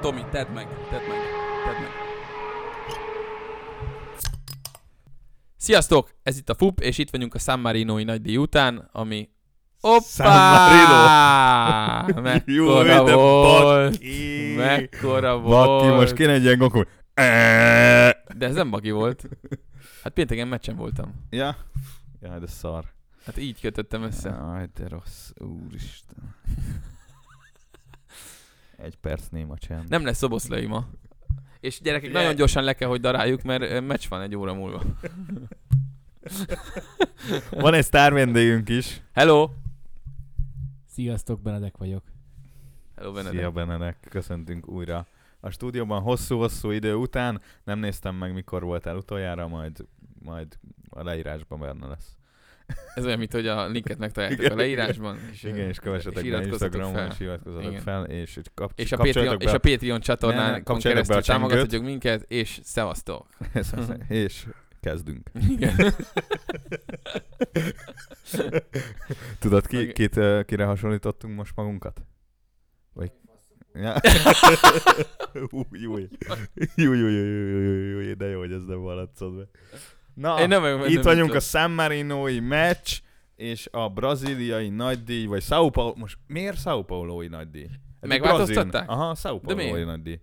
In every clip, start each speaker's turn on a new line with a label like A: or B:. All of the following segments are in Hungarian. A: Tomi, tedd meg, tedd meg, tedd meg. Sziasztok! Ez itt a FUP, és itt vagyunk a San Marinoi nagydíj után, ami...
B: San
A: Hoppá! Mekkora
B: de
A: volt!
B: baki!
A: Mekkora
B: Baki, most
A: volt!
B: kéne egy ilyen E. Goku. Eeeeh.
A: De ez nem baki volt. Hát pénteken meccsen voltam.
B: Ja? Jaj, de szar.
A: Hát így kötöttem össze.
B: Jaj, de rossz. Úristen. Egy perc néma csend.
A: Nem lesz szoboszlai ma. És gyerekek,
B: Ugye?
A: nagyon gyorsan le kell, hogy daráljuk, mert ö, meccs van egy óra múlva.
B: Van egy sztár vendégünk is.
A: Hello!
C: Sziasztok, Benedek vagyok.
A: Hello, Benedek.
B: Szia Benedek, köszöntünk újra. A stúdióban hosszú-hosszú idő után nem néztem meg, mikor voltál utoljára, majd, majd a leírásban benne lesz.
A: Ez olyan, mint hogy a linket megtaláljátok
B: Igen,
A: a leírásban. És, ö,
B: Igen, és kövessetek
A: és
B: be
A: iratkozzatok
B: Instagramon,
A: fel.
B: és iratkozzatok
A: Igen.
B: fel, és, itt kapcs-
A: és a, Patreon,
B: kapcsoljatok
A: és a Patreon
B: Ne, ne,
A: csatornán
B: kapcsoljatok be
A: keresztül
B: a csengőt.
A: támogathatjuk minket, és szevasztok.
B: be
A: Mhm.
B: a... és kezdünk.
A: Igen.
B: Tudod, ki,
A: Meg-
B: kit, ö, kire hasonlítottunk most magunkat? Vagy... Ja. Új, új, új, új, új, új, új, új, de jó, hogy ez nem haladszod be. Na,
A: Én nem, nem
B: itt vagyunk a San Marinoi meccs, és a braziliai nagydíj, vagy São Paulo, most miért São Paulo-i nagydíj? egy
A: Megváltoztatták?
B: brazil- Aha, São
A: De miért?
B: Paulo-i nagydíj.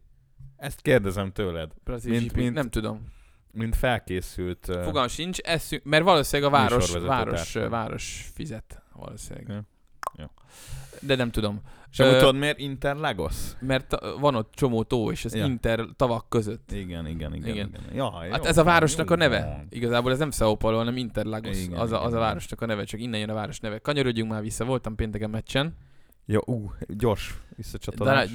B: Ezt kérdezem tőled,
A: Brazil
B: mint-
A: mint,
B: mint-
A: Nem tudom.
B: mint felkészült... eh, ö,
A: Fogalm sincs, eszünk, mert valószínűleg a város,
B: Műsorvezető
A: város,
B: társa.
A: város fizet. Valószínűleg.
B: Ja. Ja.
A: De nem tudom.
B: És amúgy
A: Ö,
B: tudod, miért Interlagos?
A: Mert ö, van ott csomó tó, és ez
B: Ja.
A: inter tavak között.
B: Igen, igen, igen.
A: Igen.
B: igen. igen. Jaj,
A: Hát
B: jó
A: ez a
B: van,
A: városnak
B: jó
A: a neve.
B: van.
A: Igazából ez nem São Paulo, hanem Interlagos.
B: Igen,
A: az, a, az a
B: igen.
A: városnak a neve, csak innen jön a város neve. Kanyarodjunk már vissza, voltam pénteken meccsen.
B: Jó, ú, gyors
A: Dará,
B: visszacsatolás.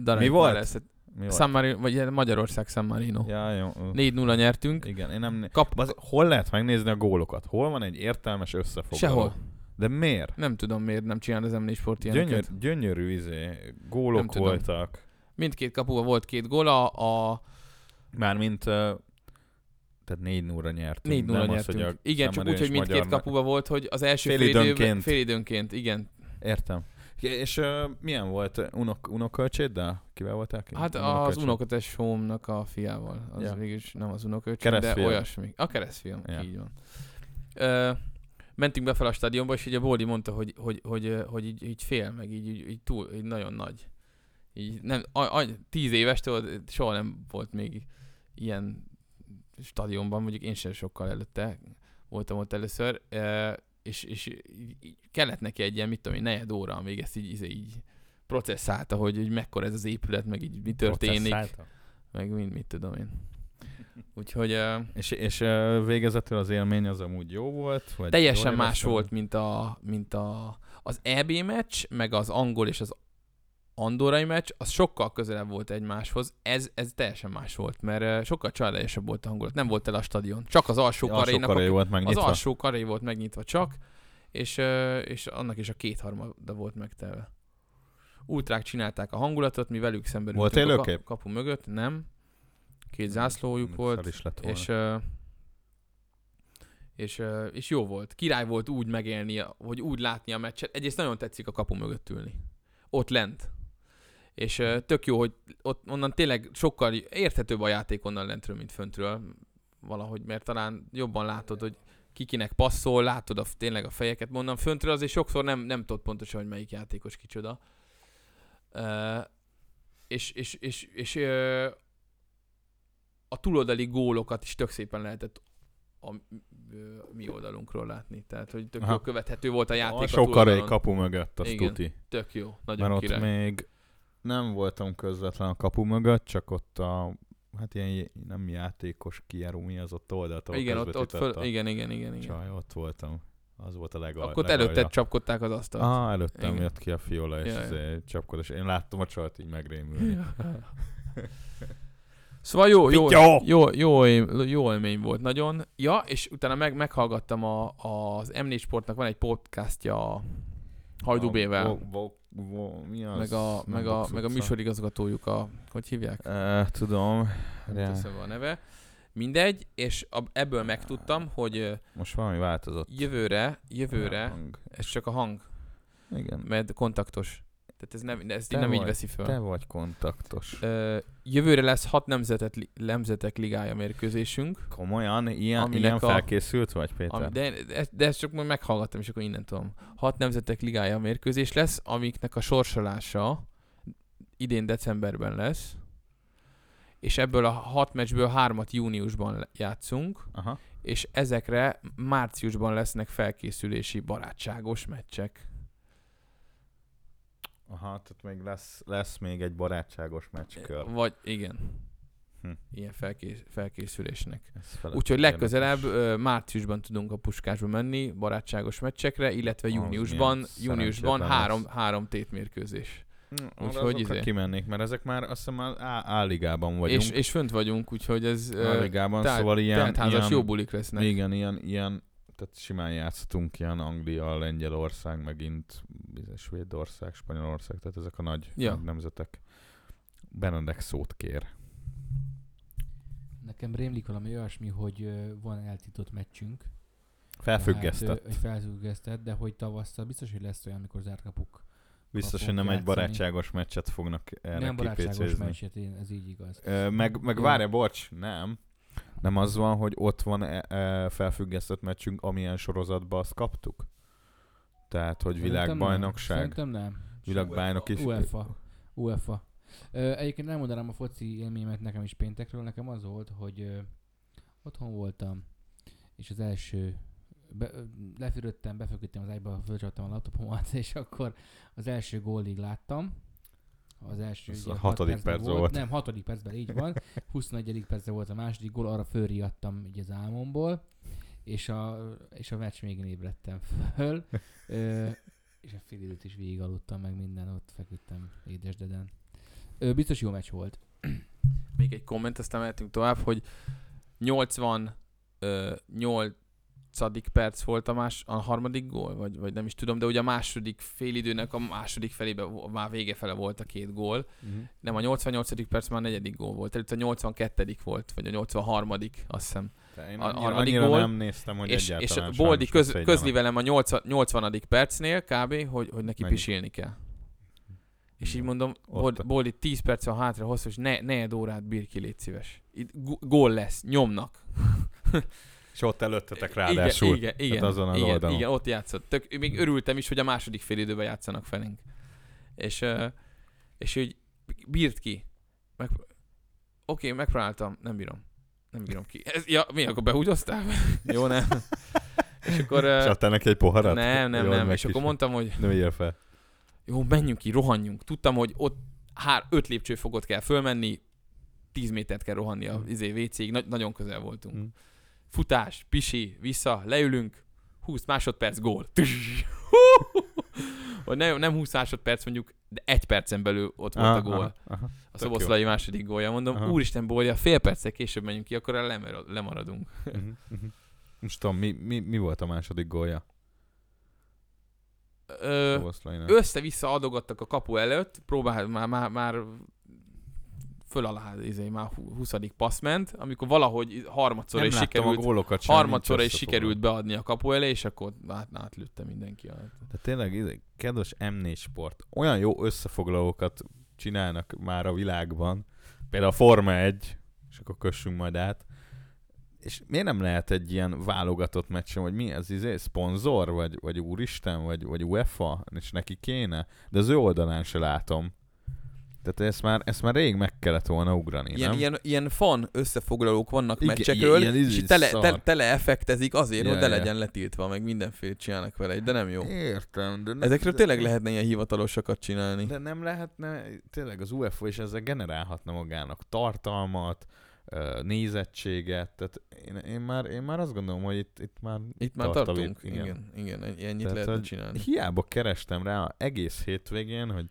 A: dará,
B: Mi volt? Mi
A: Mi
B: volt?
A: San Marino, vagy ilyen Magyarország San Marino.
B: Ja, jó. ú.
A: 4-0 nyertünk.
B: Igen, én nem...
A: Kap,
B: Baz, hol lehet megnézni a gólokat? Hol van egy értelmes összefoglaló?
A: sehol.
B: De miért?
A: Nem tudom, miért nem csinál az emlés sport ilyeneket.
B: Gyönyör, gyönyörű izé,
A: Nem
B: gólok
A: tudom.
B: voltak.
A: Mindkét kapuba volt két gól, a, a
B: Mármint, ö, tehát 4 0 nyertünk.
A: 4 0
B: nem az,
A: nyertünk.
B: hogy a
A: igen, csak
B: Szemmerő
A: úgy, hogy
B: és
A: mindkét
B: magyar me-
A: kapuba volt, hogy az első fél
B: Félidőnként.
A: időben, fél időnként, igen.
B: Értem. És ö, milyen volt unok, unokölcséddel? Kivel voltál ki?
A: Hát az
B: Unokölcsét?
A: unokatestvéremnek a fiával. Az
B: Ja.
A: yeah. végülis nem az unoköcsém, de
B: Keresztfia.
A: olyasmi. A keresztfiam,
B: Ja.
A: így van. Ö, mentünk be fel a stadionba, és így a Bóli mondta, hogy, hogy, hogy, ö, hogy így, így fél, meg így, így, így túl, így nagyon nagy. Így nem, a, a, tíz éves, tudod, soha nem volt még ilyen stadionban, mondjuk én sem sokkal előtte voltam ott először, ö, és, és így- így kellett neki egy ilyen, mit tudom én, negyed óra, amíg ezt így, így, így processzálta, hogy, hogy mekkora ez az épület, meg így mi történik,
B: Processzálta?
A: meg mind, mit tudom én. Úgyhogy ö,
B: És, és ö, végezetül az élmény az amúgy jó volt? Vagy
A: teljesen
B: jól
A: más
B: érezted?
A: volt, mint, a, mint a, az EB meccs, meg az angol és az andorai meccs, az sokkal közelebb volt egymáshoz, ez, ez teljesen más volt, mert ö, sokkal családesebb volt a hangulat, nem volt el a stadion, csak az alsó
B: Alsó
A: karénak,
B: karai
A: a
B: volt megnyitva.
A: Az alsó karé volt megnyitva csak, és, ö, és annak is a kétharmada volt megtelve. Ultrák csinálták a hangulatot, mi velük szemben
B: Volt
A: ültünk a
B: élőkép?
A: ka- kapu mögött, nem. Két zászlójuk
B: Szar
A: volt,
B: is lett volna.
A: és, ö, és, ö, és jó volt. Király volt úgy megélni, hogy úgy látni a meccset. Egyrészt nagyon tetszik a kapu mögött ülni. Ott lent. És ö, tök jó, hogy ott onnan tényleg sokkal érthetőbb a játék onnan lentről, mint föntről. Valahogy, mert talán jobban látod, hogy kikinek passzol, látod a, tényleg a fejeket, mondom, föntről azért sokszor nem, nem tudod pontosan, hogy melyik játékos kicsoda. Ö, és, és, és, és ö, a túloldali gólokat is tök szépen lehetett a ö, mi oldalunkról látni. Tehát, hogy tök
B: Aha.
A: jó követhető volt a játék a,
B: alsó karai
A: túloldalon.
B: kapu mögött, azt
A: Igen,
B: tuti.
A: Tök jó,
B: Mert
A: nagyon
B: ott
A: király.
B: még nem voltam közvetlen a kapu mögött, csak ott a hát ilyen j- nem játékos kijáró, mi az ott oldalt,
A: Igen, ott, ott föl, igen, igen, igen, igen.
B: Csaj, ott voltam. Az volt a legal.
A: Akkor ott előtted csapkodták az asztalt.
B: Ah, előttem
A: Igen.
B: jött ki a fiola, és
A: Ja, ja.
B: ja, csapkodás. Én láttam a csajt így megrémülni.
A: Szóval jó, jó,
B: Fityó!
A: jó, jó, él- jó élmény volt nagyon. Ja, és utána meg, meghallgattam a, az M4 Sportnak van egy podcastja a Hajdú
B: A
A: B-vel,
B: vo- vo- vo- mi az?
A: meg a,
B: Nem
A: meg, a,
B: box
A: meg a
B: utca.
A: műsorigazgatójuk, a, hogy hívják?
B: Eh, tudom.
A: Nem
B: Ja.
A: teszem a neve. Mindegy, és a, ebből megtudtam, hogy ö,
B: Most valami változott.
A: jövőre, jövőre,
B: Hang.
A: ez csak a hang,
B: Igen.
A: mert kontaktos. Tehát ez nem, ezt
B: Te
A: így nem így
B: vagy,
A: veszi fel.
B: Te vagy kontaktos.
A: Ö, jövőre lesz hat nemzetet, li- nemzetek ligája mérkőzésünk.
B: Komolyan? Ilyen,
A: Aminek
B: ilyen
A: a-
B: felkészült vagy, Péter?
A: Ami, de, de, de ezt csak majd meghallgattam, és akkor innen tudom. Hat nemzetek ligája mérkőzés lesz, amiknek a sorsolása idén decemberben lesz, és ebből a hat meccsből hármat júniusban le- játszunk,
B: Aha.
A: és ezekre márciusban lesznek felkészülési barátságos meccsek.
B: Aha, tehát még lesz, lesz még egy barátságos meccskör.
A: Vagy igen.
B: Hm.
A: Ilyen felkész, felkészülésnek.
B: Ez felett
A: Úgyhogy
B: érdekes.
A: legközelebb ö, márciusban tudunk a puskásba menni, barátságos meccsekre, illetve
B: Az milyen
A: júniusban,
B: szerencsétlen
A: júniusban
B: lesz.
A: három, három tétmérkőzés.
B: Mm,
A: Úgyhogy
B: Úgyhogy
A: izé.
B: izé. kimennék, mert ezek már azt hiszem már A- A-ligában vagyunk.
A: És, és fönt vagyunk, úgyhogy ez ö,
B: A-ligában,
A: tehát-
B: szóval ilyen,
A: teltházas
B: ilyen,
A: jó bulik lesznek.
B: igen, ilyen, ilyen, tehát simán játszhatunk ilyen Anglia, Lengyelország, megint izé, Svédország, Spanyolország, tehát ezek a nagy
A: Ja.
B: ja. nemzetek. Benedek szót kér.
C: Nekem rémlik valami olyasmi, hogy ö, van eltiltott meccsünk.
B: Felfüggesztett.
C: Tehát, ö, felfüggesztett, de hogy tavasszal biztos, hogy lesz olyan, amikor zárt kapuk.
B: Biztos,
C: kapunk
B: hogy nem egy
C: játszani.
B: barátságos meccset fognak erre
C: nem barátságos
B: kipécézni.
C: meccset, én- ez így igaz.
B: Ö, Meg, meg
C: Jó.
B: várj, bocs, nem. Nem az van, hogy ott van e, e, felfüggesztett meccsünk, amilyen sorozatban azt kaptuk? Tehát, hogy
C: Szerintem nem.
B: világbajnokság,
C: Szerintem nem.
B: világbajnok is.
C: UEFA. UEFA. Ö, egyébként elmondanám a foci élményemet nekem is péntekről. Nekem az volt, hogy ö, otthon voltam, és az első be, ö, lefürödtem, befeküdtem az ágyba, fölcsaptam a laptopomat, és akkor az első gólig láttam. Az első
B: Ez
C: ugye,
B: a
C: hat
B: hatodik
C: percben
B: perc volt.
C: Nem, hatodik percben, így van. 21. percben volt a második gól, arra fölriadtam így az álmomból, és a, és a meccs végén ébredtem föl. Ö, és a fél időt is végig aludtam, meg minden, ott feküdtem édesdeden. Ö, biztos jó meccs volt.
A: Még egy komment, aztán mehetünk tovább, hogy 88 perc volt a, más, a harmadik gól, vagy, vagy nem is tudom, de ugye a második félidőnek a második felébe, vo- már vége fele volt a két gól,
B: Mhm.
A: Nem, a 88. perc már negyedik gól volt, előtt a 82. volt, vagy a 83. azt hiszem.
B: De Én
A: A-
B: annyira,
A: harmadik
B: annyira
A: gól,
B: nem néztem, hogy
A: és, és
B: egyáltalán
A: Boldi
B: sajnos
A: köz,
B: összeigyenek.
A: közli velem a 80. 80. percnél kb., hogy, hogy neki
B: Mennyi?
A: pisilni kell. És így
B: Igen.
A: mondom, Bold,
B: Ott.
A: Boldi 10 perc van hátra hosszú, és ne, ne órát bír ki, légy szíves. Itt gó- gól lesz, nyomnak.
B: És ott előttetek ráadásul.
A: Igen, igen, igen,
B: Tehát azon az
A: igen,
B: oldalon.
A: igen, ott játszott. Tök, még örültem is, hogy a második fél időben játszanak felénk. És, ö, és úgy bírt ki. Meg, oké, megpróbáltam, nem bírom. Nem bírom ki. Ez, ja, mi, akkor behúgyoztál? Jó, nem. És akkor...
B: És
A: ö,
B: adtál neki egy poharat?
A: nem, nem,
B: Jól
A: nem.
B: meg
A: És akkor
B: kis-
A: mondtam, hogy
B: Nem ér fel.
A: jó, menjünk ki, rohanjunk. Tudtam, hogy ott hár, öt lépcsőfokot kell fölmenni, 10 métert kell rohanni a izé, WC-ig, Nagy, nagyon közel voltunk.
B: Mm.
A: Futás, pisi, vissza, leülünk, 20 másodperc, gól. Vagy nem, nem 20 másodperc mondjuk, de egy percen belül ott volt a
B: Aha,
A: gól.
B: Ah, aha, aha.
A: A
B: tök
A: szoboszlai második gólja. Mondom,
B: Aha.
A: úristen, bolja, fél perccel később menjünk ki, akkor lemar- lemaradunk.
B: Mhm, mhm. Most tudom, mi, mi, mi volt a második gólja?
A: Ö,
B: Szoboszlainak?
A: össze-vissza adogattak a kapu előtt, próbál, már, már, már föl alá, izé, már hu- 20. passz ment, amikor valahogy harmadszor
B: Nem
A: is
B: láttam a
A: sikerült,
B: gólokat sem,
A: harmadszor
B: nincs
A: is
B: összefoglalva.
A: sikerült beadni a kapu elé, és akkor át, átlőtte mindenki. A...
B: De tényleg, izé, kedves M4 Sport, olyan jó összefoglalókat csinálnak már a világban, például a Forma 1, és akkor kössünk majd át, és miért nem lehet egy ilyen válogatott meccsen, hogy mi ez, izé, szponzor, vagy, vagy úristen, vagy, vagy UEFA, és neki kéne? De az ő oldalán se látom. Tehát ezt már, ezt már rég meg kellett volna ugrani,
A: Ilyen,
B: nem?
A: ilyen, ilyen fan összefoglalók vannak
B: Igen,
A: meccsekről,
B: ilyen- ilyen
A: és
B: ízű
A: tele,
B: szar.
A: tele, tele effektezik azért,
B: Ja,
A: hogy ne
B: ja.
A: legyen letiltva, meg mindenféle csinálnak vele, de nem jó.
B: Értem, de... nem-
A: Ezekről
B: de-
A: tényleg lehetne ilyen hivatalosakat csinálni.
B: De nem lehetne, tényleg az UFO is ezzel generálhatna magának tartalmat, ö, nézettséget, tehát én, én, már, én már azt gondolom, hogy itt, itt már
A: Itt már
B: tartalmi-
A: tartunk. Igen, igen, en- ennyit
B: Tehát,
A: lehetne
B: hogy
A: csinálni.
B: Hiába kerestem rá egész hétvégén, hogy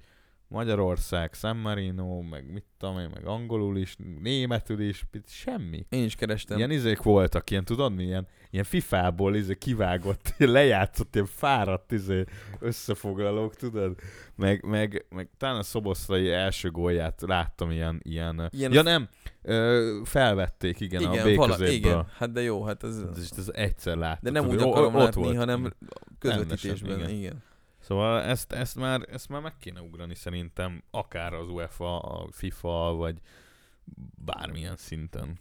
B: Magyarország, San Marino, meg mit tudom én, meg angolul is, németül is, itt semmi.
A: Én is kerestem.
B: Ilyen izék voltak, ilyen tudod mi, ilyen, ilyen fifából izé kivágott, lejátszott, ilyen fáradt izé összefoglalók, tudod? Meg, meg, meg talán a szoboszlai első gólját láttam ilyen, ilyen,
A: Ilyen-
B: ilyen ja nem, ö, felvették, igen, igen a B
A: vala-
B: középből.
A: igen, hát de jó, hát ez...
B: Ez, ez egyszer láttam.
A: De nem úgy
B: tudod, o-
A: akarom
B: o- ott
A: látni,
B: volt.
A: hanem
B: Rendesen,
A: közvetítésben, igen.
B: igen.
A: igen.
B: Szóval ezt, ezt, már, ezt már meg kéne ugrani szerintem, akár az UEFA, a FIFA, vagy bármilyen szinten.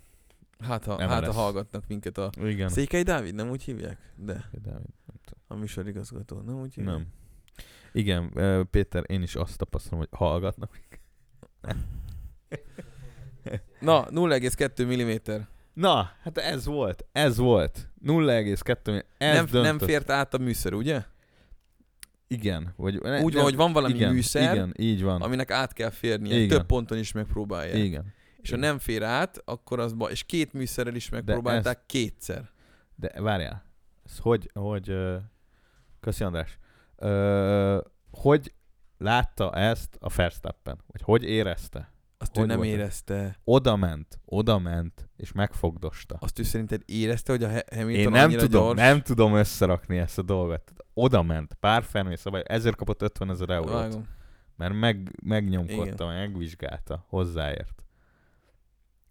A: Hát ha,
B: Nem
A: hát, ha
B: lesz.
A: hallgatnak minket a...
B: Igen.
A: Székely Dávid, nem úgy hívják? De
B: Dávid.
A: a műsorigazgató, nem úgy hívják?
B: Nem. Igen, ö, Péter, én is azt tapasztalom, hogy hallgatnak.
A: Na, 0,2 mm.
B: Na, hát ez volt, ez volt. 0,2, ez
A: Nem,
B: döntött.
A: nem fért át a műszer, ugye?
B: Igen. Vagy, ne,
A: Úgy van,
B: nem,
A: hogy van valami
B: igen,
A: műszer,
B: Igen, így van.
A: aminek át kell férnie.
B: Igen.
A: Több ponton is megpróbálják.
B: Igen.
A: És ha nem fér át, akkor az ba... És két műszerrel is megpróbálták kétszer.
B: De várjál, ez hogy, hogy ö, köszi András, Ö, hogy látta ezt a Verstappen? Vagy hogy érezte?
A: Azt ő
B: Hogy
A: nem
B: volt ez?
A: érezte.
B: Oda ment, oda ment, és megfogdosta.
A: Azt ő szerinted érezte, hogy a He- Hamilton
B: Én nem
A: annyira
B: tudom,
A: gyors?
B: nem tudom összerakni ezt a dolgot. Oda ment, pár Fermi szabály, ezért kapott 50 ezer eurót,
A: Vágom.
B: mert meg, megnyomkodta, megvizsgálta, hozzáért.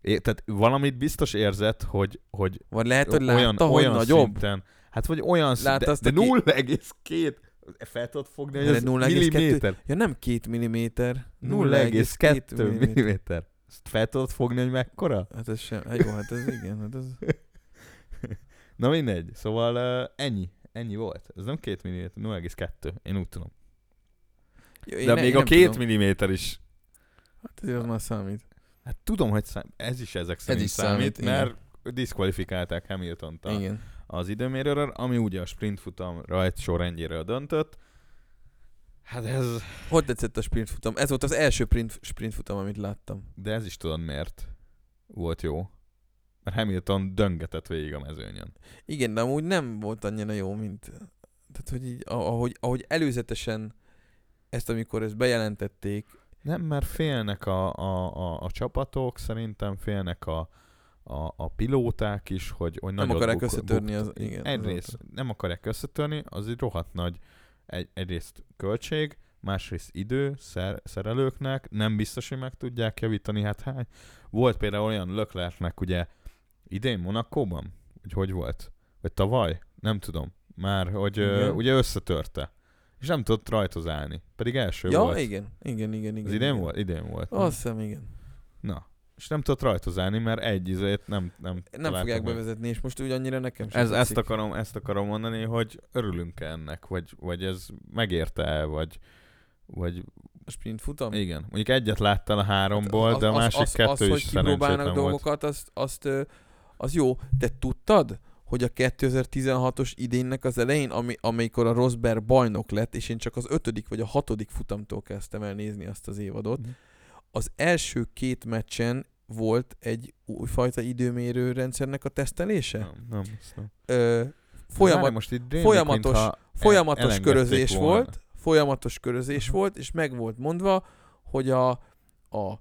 B: É, tehát valamit biztos érzett, hogy, hogy
A: Vagy lehet, Hát, hogy látta,
B: olyan,
A: hogy
B: olyan
A: nagyobb.
B: szinten. Hát, vagy olyan szinten.
A: Látta
B: De,
A: azt
B: de
A: a ki-
B: 0,2 fel tudod fogni, hogy
A: De
B: ez
A: 0,2
B: milliméter.
A: Ja nem két milliméter.
B: 0,2
A: milliméter.
B: milliméter. Ezt fel tudod fogni, hogy mekkora?
A: Hát ez sem, hát jó, hát ez igen, hát ez...
B: Na mindegy. Szóval uh, ennyi. Ennyi volt. Ez nem 2 milliméter, 0,2. Én úgy tudom.
A: Jó,
B: Én
A: én
B: de
A: ne-
B: még
A: én
B: a
A: nem
B: 2
A: tudom.
B: milliméter is.
A: Hát ez az már számít.
B: Hát tudom, hogy szám... ez is ezek szerint
A: is
B: számít,
A: számít, igen.
B: mert diszkvalifikálták hamilton
A: Igen.
B: az időmérőről, ami ugye a sprint futam rajt sorrendjéről döntött. Hát ez...
A: Hogy tetszett a sprint futam? Ez volt az első print, sprint futam, amit láttam.
B: De ez is tudod miért volt jó. Mert Hamilton döngetett végig a mezőnyön.
A: Igen, de amúgy nem volt annyira jó, mint... Tehát, hogy így, a- ahogy, ahogy előzetesen ezt, amikor ezt bejelentették,
B: Nem, mert félnek a, a, a, a csapatok, szerintem félnek a, a, a pilóták is, hogy, hogy
A: nem
B: nagyot
A: akarják
B: buk-
A: összetörni
B: bukta-
A: az... Igen, az
B: Egyrészt nem akarják összetörni, az egy rohadt nagy egy, egyrészt költség, másrészt idő szer, szerelőknek, nem biztos, hogy meg tudják javítani, hát hány. Volt például olyan Löklernek ugye idén Monakóban, hogy hogy volt? Vagy tavaly? Nem tudom. Már, hogy ö,
A: Igen.
B: ugye összetörte. És nem tudott rajtoz állni. Pedig első
A: Ja,
B: volt.
A: igen, igen, igen, igen.
B: Az idén
A: igen.
B: volt? Idén volt.
A: Azt hiszem, igen.
B: Na. És nem tudott rajtoz állni, mert egy izét nem, nem
A: Nem
B: találtak
A: fogják
B: meg.
A: bevezetni, és most úgy annyira nekem sem
B: Ez, ezt,
A: tetszik.
B: akarom, ezt akarom mondani, hogy örülünk -e ennek, vagy, vagy ez megérte -e, vagy, vagy
A: a sprint futam.
B: igen. Mondjuk egyet láttál a háromból,
A: Az-
B: de a
A: Hát az-
B: másik
A: az,
B: kettő
A: az,
B: is
A: hogy
B: szerencsétlen
A: kipróbálnak
B: volt.
A: dolgokat, azt, azt, ö, az jó. Te tudtad, hogy a 2016-os idénnek az elején, ami, amikor a Rosberg bajnok lett, és én csak az ötödik vagy a hatodik futamtól kezdtem el nézni azt az évadot,
B: Mhm.
A: az első két meccsen volt egy újfajta időmérő rendszernek a tesztelése.
B: Nem, nem, azt nem.
A: Ö,
B: Várj,
A: folyamat,
B: most itt rémlik,
A: folyamatos-
B: mintha
A: folyamatos
B: elengedték
A: körözés
B: volna.
A: volt, folyamatos körözés
B: Aha.
A: volt, és meg volt mondva, hogy a, a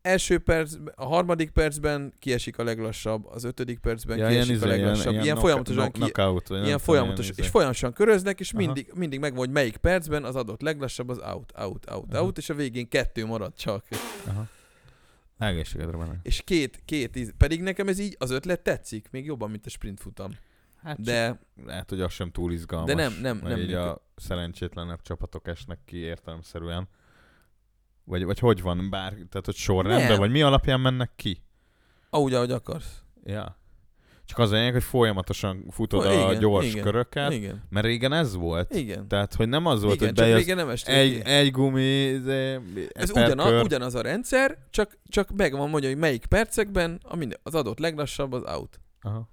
A: első perc, a harmadik percben kiesik a leglassabb, az ötödik percben
B: Ja, ilyen,
A: kiesik
B: izé,
A: a leglassabb. Ilyen,
B: knock-
A: folyamatosan,
B: knock-
A: ki,
B: knockout, vagy nem
A: ilyen
B: tudom,
A: folyamatos,
B: izé.
A: és folyamatosan köröznek, és
B: Aha.
A: mindig, mindig meg hogy melyik percben az adott leglassabb az out, out, out,
B: Aha.
A: out, és a végén kettő marad csak.
B: Aha. Egészségedre benne.
A: És két, két, íz- pedig nekem ez így az ötlet tetszik, még jobban, mint a sprint futam.
B: Hát
A: De
B: lehet, hogy az sem túl izgalmas.
A: De nem, nem,
B: meg
A: nem
B: Így a
A: működ-
B: szerencsétlenebb csapatok esnek ki értelemszerűen. Vagy, vagy hogy van, bár, tehát hogy sorrendben,
A: Nem.
B: vagy mi alapján mennek ki?
A: ahogy, ahogy akarsz.
B: Ja. Csak az a lényeg, hogy folyamatosan futod
A: Hol-
B: a
A: igen,
B: gyors
A: igen,
B: köröket,
A: Igen.
B: mert régen ez volt.
A: Igen.
B: Tehát, hogy nem Hát az volt,
A: Igen,
B: hogy
A: csak
B: bejössz
A: régen nem estél
B: egy,
A: ki.
B: egy gumi, izé, de
A: Ez
B: per kör.
A: ugyanaz, ugyanaz a rendszer, csak, csak meg van mondja, hogy melyik percekben a minden, az adott leglassabb az out.
B: Aha.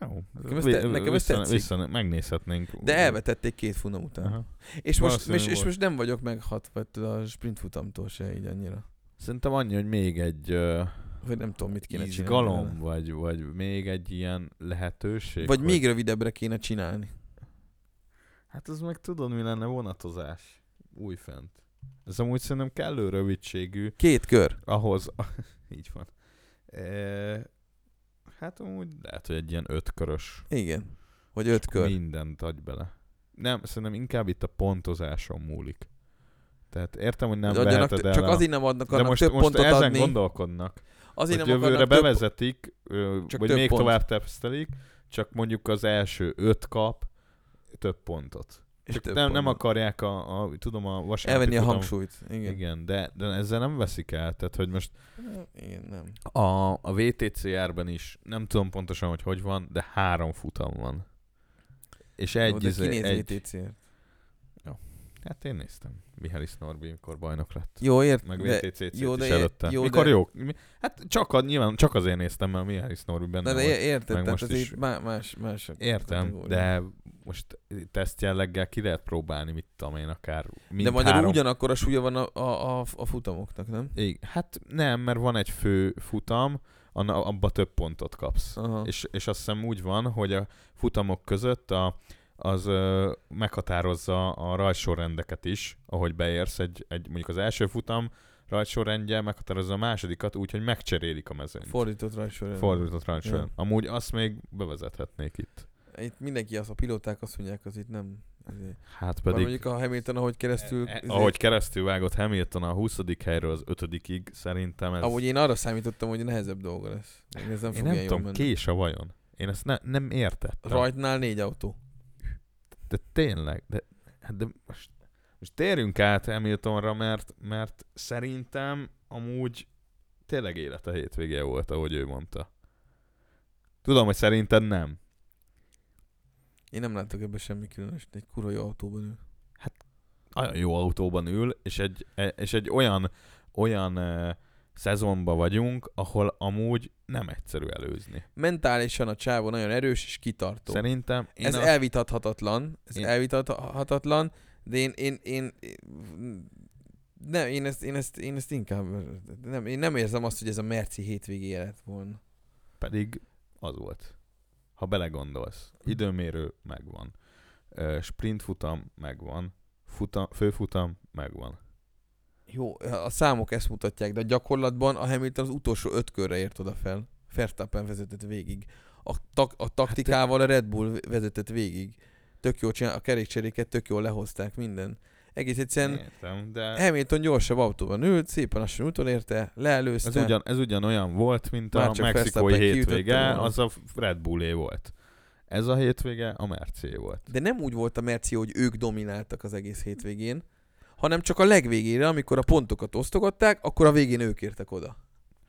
B: Jó.
A: Nekem ez te- nekem ez
B: vissza,
A: tetszik.
B: Vissza, megnézhetnénk.
A: De elvetették két futam után.
B: Aha.
A: És, most,
B: Valószínű
A: és, és
B: volt.
A: most nem vagyok meghatva ettől a sprint futamtól se így annyira.
B: Szerintem annyi, hogy még egy... ö,
A: Hogy nem tudom, mit kéne csinálni. vele.
B: izgalom, vagy, vagy még egy ilyen lehetőség.
A: Vagy
B: hogy-
A: még rövidebbre kéne csinálni.
B: Hát az meg tudod, mi lenne vonatozás újfent. Ez amúgy szerintem kellő rövidségű
A: Két kör.
B: ahhoz, így van. E, hát amúgy lehet, hogy egy ilyen ötkörös
A: Igen. Vagy öt kör.
B: mindent adj bele. Nem, szerintem inkább itt a pontozáson múlik. Tehát értem, hogy nem
A: De adjanak,
B: veheted el
A: csak
B: a...
A: azért nem adnak
B: de
A: annak
B: most,
A: több
B: most
A: pontot
B: ezen
A: adni.
B: gondolkodnak.
A: azért
B: Azért
A: nem
B: hogy jövőre
A: akarnak több,
B: bevezetik, ö,
A: Csak
B: vagy
A: több
B: még
A: pont.
B: tovább tesztelik, csak mondjuk az első öt kap több pontot.
A: És
B: Csak
A: több
B: nem, nem
A: pontban.
B: akarják a, a, tudom, a vasárnapi
A: Elvenni a
B: tudom-
A: hangsúlyt. Igen. Igen.
B: Igen, de, de ezzel nem veszik el. Tehát, hogy most
A: Igen, nem.
B: a, a VTCR-ben is, nem tudom pontosan, hogy hogy van, de három futam van. És
A: Jó,
B: egy,
A: de
B: izé-
A: ki néz
B: egy,
A: VTC-t?
B: Hát én néztem. Mihális Norbi, mikor bajnok lett.
A: Jó, ért,
B: Meg
A: de,
B: VTCC-t is
A: jó, de-
B: előtte.
A: jó,
B: mikor
A: de-
B: jó? mi- Hát csak, a, nyilván csak azért néztem, mert Mihális Norbi benne
A: de, de
B: volt.
A: érted,
B: meg
A: tehát
B: most
A: ez
B: is.
A: így má- más, más a
B: Értem,
A: kategória.
B: de most teszt jelleggel ki lehet próbálni, mit tudom én, akár mind
A: de magyarul
B: három...
A: ugyanakkor a súlya van a, a, a, a futamoknak, nem?
B: Igen, hát nem, mert van egy fő futam, anna, abba több pontot kapsz.
A: Aha.
B: És, és azt hiszem úgy van, hogy a futamok között a, az ö, meghatározza a rajtsorrendeket is, ahogy beérsz egy, egy mondjuk az első futam rajtsorrendje meghatározza a másodikat, úgyhogy megcserélik a mezőnyt.
A: Fordított rajtsorrend.
B: Fordított rajtsorrend.
A: Ja.
B: Amúgy azt még bevezethetnék itt.
A: Itt mindenki azt, a pilóták azt mondják, az itt nem. Ezért.
B: Hát
A: Pedig...
B: pedig...
A: Mondjuk a Hamilton, ahogy keresztül... izé-
B: E- e-
A: ezért-
B: ahogy keresztül vágott Hamilton a 20. helyről az 5 szerintem ez...
A: Ahogy én arra számítottam, hogy nehezebb dolga lesz. Én ez nem
B: én
A: fogja
B: nem
A: jól
B: tudom,
A: menni.
B: kés a vajon. Én ezt ne, nem értettem.
A: Rajtnál négy autó.
B: De tényleg, de, hát de most, most térjünk át Hamiltonra, mert, mert szerintem amúgy tényleg élete hétvége volt, ahogy ő mondta. Tudom, hogy szerinted nem.
A: Én nem látok ebben semmi különös, egy kurva jó autóban ül.
B: Nagyon jó autóban ül, és egy, e- és egy olyan, olyan uh, szezonban vagyunk, ahol amúgy nem egyszerű előzni.
A: Mentálisan a csávó nagyon erős és kitartó.
B: Szerintem én
A: ez
B: azt-
A: elvitathatatlan, ez
B: Én-
A: én... elvitathatatlan, de én, én, én, én nem, én ezt, én ezt, én ezt inkább, nem, én nem érzem azt, hogy ez a merci hétvégé lett volna.
B: pedig az volt. Ha belegondolsz, időmérő megvan, Ö, sprintfutam megvan, futam, főfutam megvan.
A: Jó, a számok ezt mutatják, de gyakorlatban a Hamilton az utolsó öt körre ért oda fel. Verstappen vezetett végig. A, tak, a taktikával a Red Bull vezetett végig. Tök jól csinál, a kerékcseréket tök jól lehozták minden. Egész egyszerűen
B: Értem, de
A: Hamilton gyorsabb autóban ült, szépen lassan úton érte, leelőzte.
B: ez, ugyan, ez ugyanolyan volt, mint
A: Már
B: a
A: csak
B: mexikói
A: Verstappen kiütötte
B: hétvége,
A: volna.
B: az a Red Bullé volt. Ez a hétvége a Mercé volt.
A: De nem úgy volt a merci, hogy ők domináltak az egész hétvégén, hanem csak a legvégére, amikor a pontokat osztogatták, akkor a végén ők értek oda.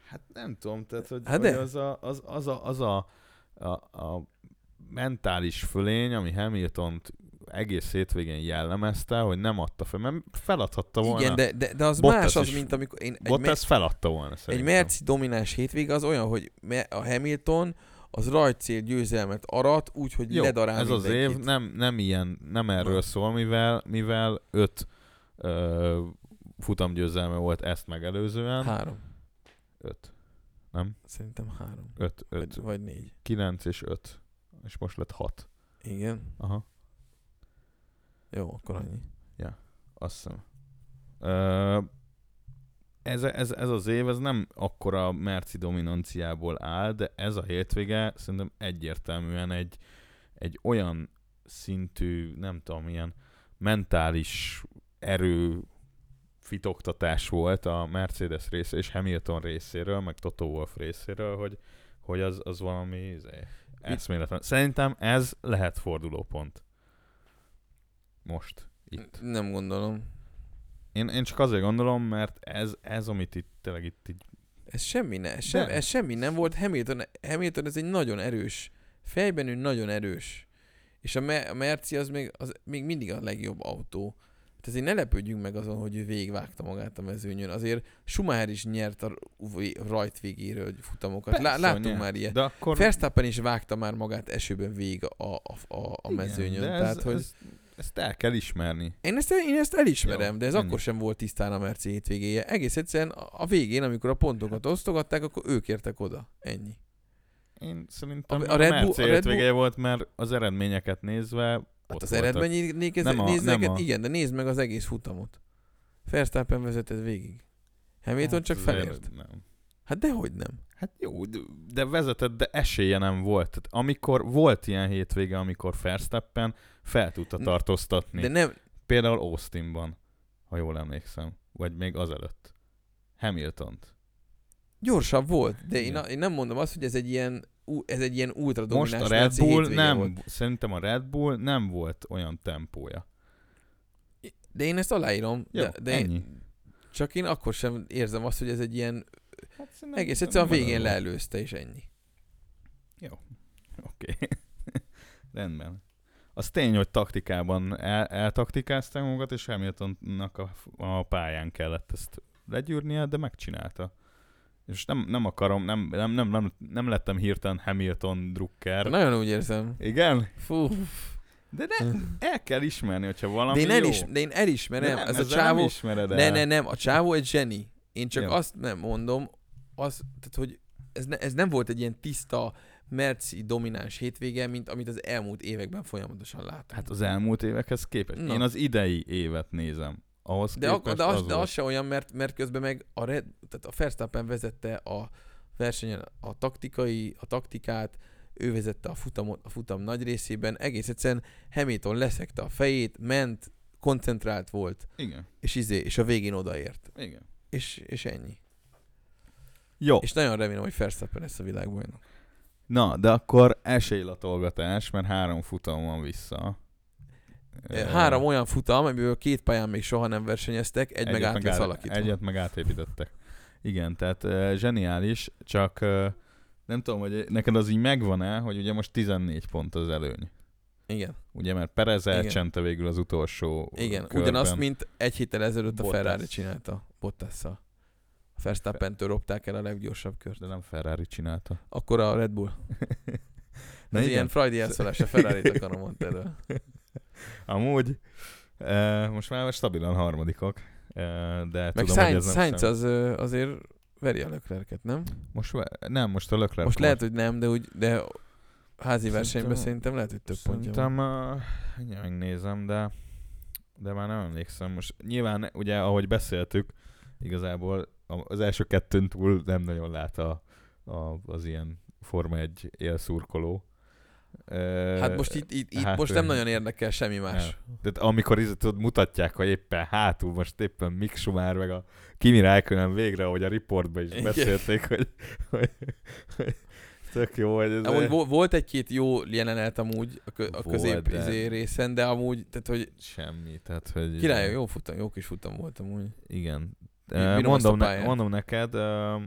B: Hát nem tudom, tehát hogy,
A: Hát
B: hogy
A: de.
B: az, a, az, az, a, az a, a, a mentális fölény, ami Hamiltont egész hétvégén jellemezte, hogy nem adta fel, mert feladhatta volna.
A: Igen, de, de, de az
B: Bottas
A: más az,
B: is-
A: mint amikor én egy,
B: Bottas
A: mer-
B: feladta volna
A: egy
B: szerintem.
A: merci domináns hétvége az olyan, hogy me- a Hamilton az rajtcél győzelmet arat, úgyhogy
B: Jó,
A: ledarál
B: ez az év
A: mindenkit.
B: nem, nem ilyen, nem erről
A: Na.
B: szól, mivel, mivel öt ö, futamgyőzelme volt ezt megelőzően.
A: Három.
B: Öt. Nem?
A: Szerintem három.
B: Öt,
A: Öt.
B: öt.
A: Vagy, vagy négy.
B: Kilenc és öt. És most lett hat.
A: Igen.
B: Aha,
A: Jó, akkor annyi.
B: azt hiszem. Ö, ez, ez, ez az év, ez nem akkora merci dominanciából áll, de ez a hétvége szerintem egyértelműen egy, egy olyan szintű, nem tudom, ilyen mentális erő fitoktatás volt a Mercedes része és Hamilton részéről, meg Toto Wolff részéről, hogy, hogy az, az valami izé, eszméletlen. Szerintem ez lehet fordulópont. Most, itt.
A: Nem gondolom.
B: Én, én csak azért gondolom, mert ez, ez amit itt tényleg itt így...
A: Ez semmi, ne, ez sem,
B: De.
A: ez semmi nem volt. Hamilton, Hamilton ez egy nagyon erős, fejben ő nagyon erős. És a, Me- a Merci az még, az még mindig a legjobb autó. Hát azért ne lepődjünk meg azon, hogy ő végigvágta magát a mezőnyön. Azért Schumacher is nyert a v- rajt végéről futamokat. Hát Lá-
B: Persze,
A: láttunk
B: nyert.
A: már ilyet.
B: De akkor...
A: Verstappen is vágta már magát esőben végig a, a, a, a
B: Igen,
A: mezőnyön.
B: de
A: Igen, Tehát,
B: ez,
A: hogy
B: Ez, ezt el kell ismerni.
A: én ezt, én ezt elismerem,
B: Jó,
A: de ez
B: ennyi.
A: akkor sem volt tisztán a Merci hétvégéje. Egész egyszerűen a a végén, amikor a pontokat osztogatták, akkor ők értek oda. Ennyi.
B: Én szerintem
A: A-
B: a,
A: a
B: a
A: Red
B: Red
A: Bull- a Red Bull-
B: Bull... volt, mert az eredményeket nézve...
A: Hát
B: ott
A: az
B: voltak.
A: eredmények, ez,
B: Nem a-
A: nézd
B: nem
A: neked,
B: a-
A: igen, de nézd meg az egész futamot. Verstappen vezetett végig. Hamilton
B: Hát
A: csak
B: az
A: felért.
B: ered- Nem.
A: Hát dehogy nem.
B: Hát jó, de- de vezetett, de esélye nem volt. Tehát amikor volt ilyen hétvége, amikor Verstappen fel tudta
A: N-
B: tartóztatni.
A: De nem,
B: Például Austinban, ha jól emlékszem. Vagy még azelőtt. Hamiltont.
A: gyorsabb volt, de én,
B: Igen.
A: a- én nem mondom azt, hogy ez egy ilyen, ú- ez egy ilyen ultra
B: Most
A: domináns
B: a Red
A: Merci
B: Bull
A: hétvége
B: nem,
A: Volt.
B: szerintem a Red Bull nem volt olyan tempója.
A: De én ezt aláírom.
B: Jó,
A: de, de
B: ennyi.
A: Én, csak én akkor sem érzem azt, hogy ez egy ilyen
B: Hát szerintem-
A: egész egyszerűen a
B: nem
A: végén
B: marad.
A: leelőzte, és ennyi.
B: Oké. Rendben. Az tény, hogy taktikában el, eltaktikázták magukat, és Hamiltonnak a, a pályán kellett ezt legyűrnie, de megcsinálta. És nem, nem akarom, nem, nem, nem, nem, nem lettem hirtelen Hamilton drukker.
A: Nagyon úgy érzem.
B: Igen?
A: Fú.
B: De ne, el kell ismerni, hogyha valami
A: De én,
B: jó.
A: elis, de én elismerem,
B: De
A: ez a
B: ezzel
A: csávó...
B: Nem ismered el.
A: Ne, ne, nem, a csávó egy zseni. Én csak
B: Jó.
A: azt nem mondom, az, tehát, hogy ez, ne, ez nem volt egy ilyen tiszta, merci domináns hétvége, mint amit az elmúlt években folyamatosan láttam.
B: Hát az elmúlt évekhez képest.
A: Na.
B: Én az idei évet nézem. Ahhoz
A: de,
B: képest
A: ak- de, az,
B: az
A: de
B: volt.
A: az se olyan, mert, mert közben meg a, Red, tehát a Verstappen vezette a versenyen a taktikai, a taktikát, ő vezette a futamot, a futam nagy részében, egész egyszerűen Hamilton leszekte a fejét, ment, koncentrált volt,
B: Igen,
A: és izé, és a végén odaért.
B: igen.
A: És, és ennyi.
B: Jó.
A: És nagyon remélem, hogy Verstappen lesz a világbajnok.
B: Na, de akkor esélylatolgatás, mert három futam van vissza.
A: E, Három olyan futam, amiből két pályán még soha nem versenyeztek, egy meg
B: Egyet
A: át lesz
B: át-
A: alakítva.
B: Egyet meg átépítettek. Igen, tehát e, zseniális, csak e, nem tudom, hogy neked az így megvan-e, hogy ugye most 14 pont az előny.
A: Igen,
B: Ugye, mert Perez
A: Igen.
B: elcsente végül az utolsó
A: igen.
B: körben.
A: Ugyanazt, mint egy héttel ezelőtt a
B: Bottas.
A: Ferrari csinálta Bottasszal. A Verstappentől robták el a leggyorsabb kört.
B: De nem Ferrari csinálta.
A: Akkor a Red Bull.
B: Na
A: Ez
B: igen.
A: ilyen Freudi elszólás, a Ferrari-t akarom mondani erről.
B: Amúgy e, most már stabilan harmadikok, e, de
A: Meg
B: tudom, hogy ez
A: Sainz,
B: nem
A: Sainz
B: számít.
A: az, ö, azért veri a löklerket, nem?
B: Most, ve- nem, most a Leclerc
A: Most lehet, hogy nem, de úgy, de házi versenyben
B: Szerintem-
A: szerintem lehet, hogy több pontja van.
B: Szerintem, uh, mindjárt megnézem, de, de már nem emlékszem. Most nyilván, ugye, ahogy beszéltük, igazából a- az első kettőn túl nem nagyon lát a, a, az ilyen Forma 1 élszurkoló. E,
A: Hát most itt, itt, itt
B: hát
A: most
B: ő-
A: nem nagyon érdekel semmi más.
B: Tehát amikor izé, tudod, mutatják, hogy éppen hátul, most éppen Mick Schumacher meg a Kimi Räikkönen végre, ahogy a riportban is
A: Igen.
B: beszélték, hogy, hogy, hogy tök jó, hogy ez...
A: Amúgy vo- volt egy-két jó jelenet amúgy a, kö- a
B: Volt,
A: közép
B: de-
A: izé részen, de amúgy, tehát hogy
B: Semmi, tehát hogy...
A: király, jó futam, jó kis futam volt amúgy.
B: Igen.
A: Mi-
B: Eh,
A: mirom
B: Mondom,
A: ezt a
B: ne,
A: pályát?
B: mondom neked, uh,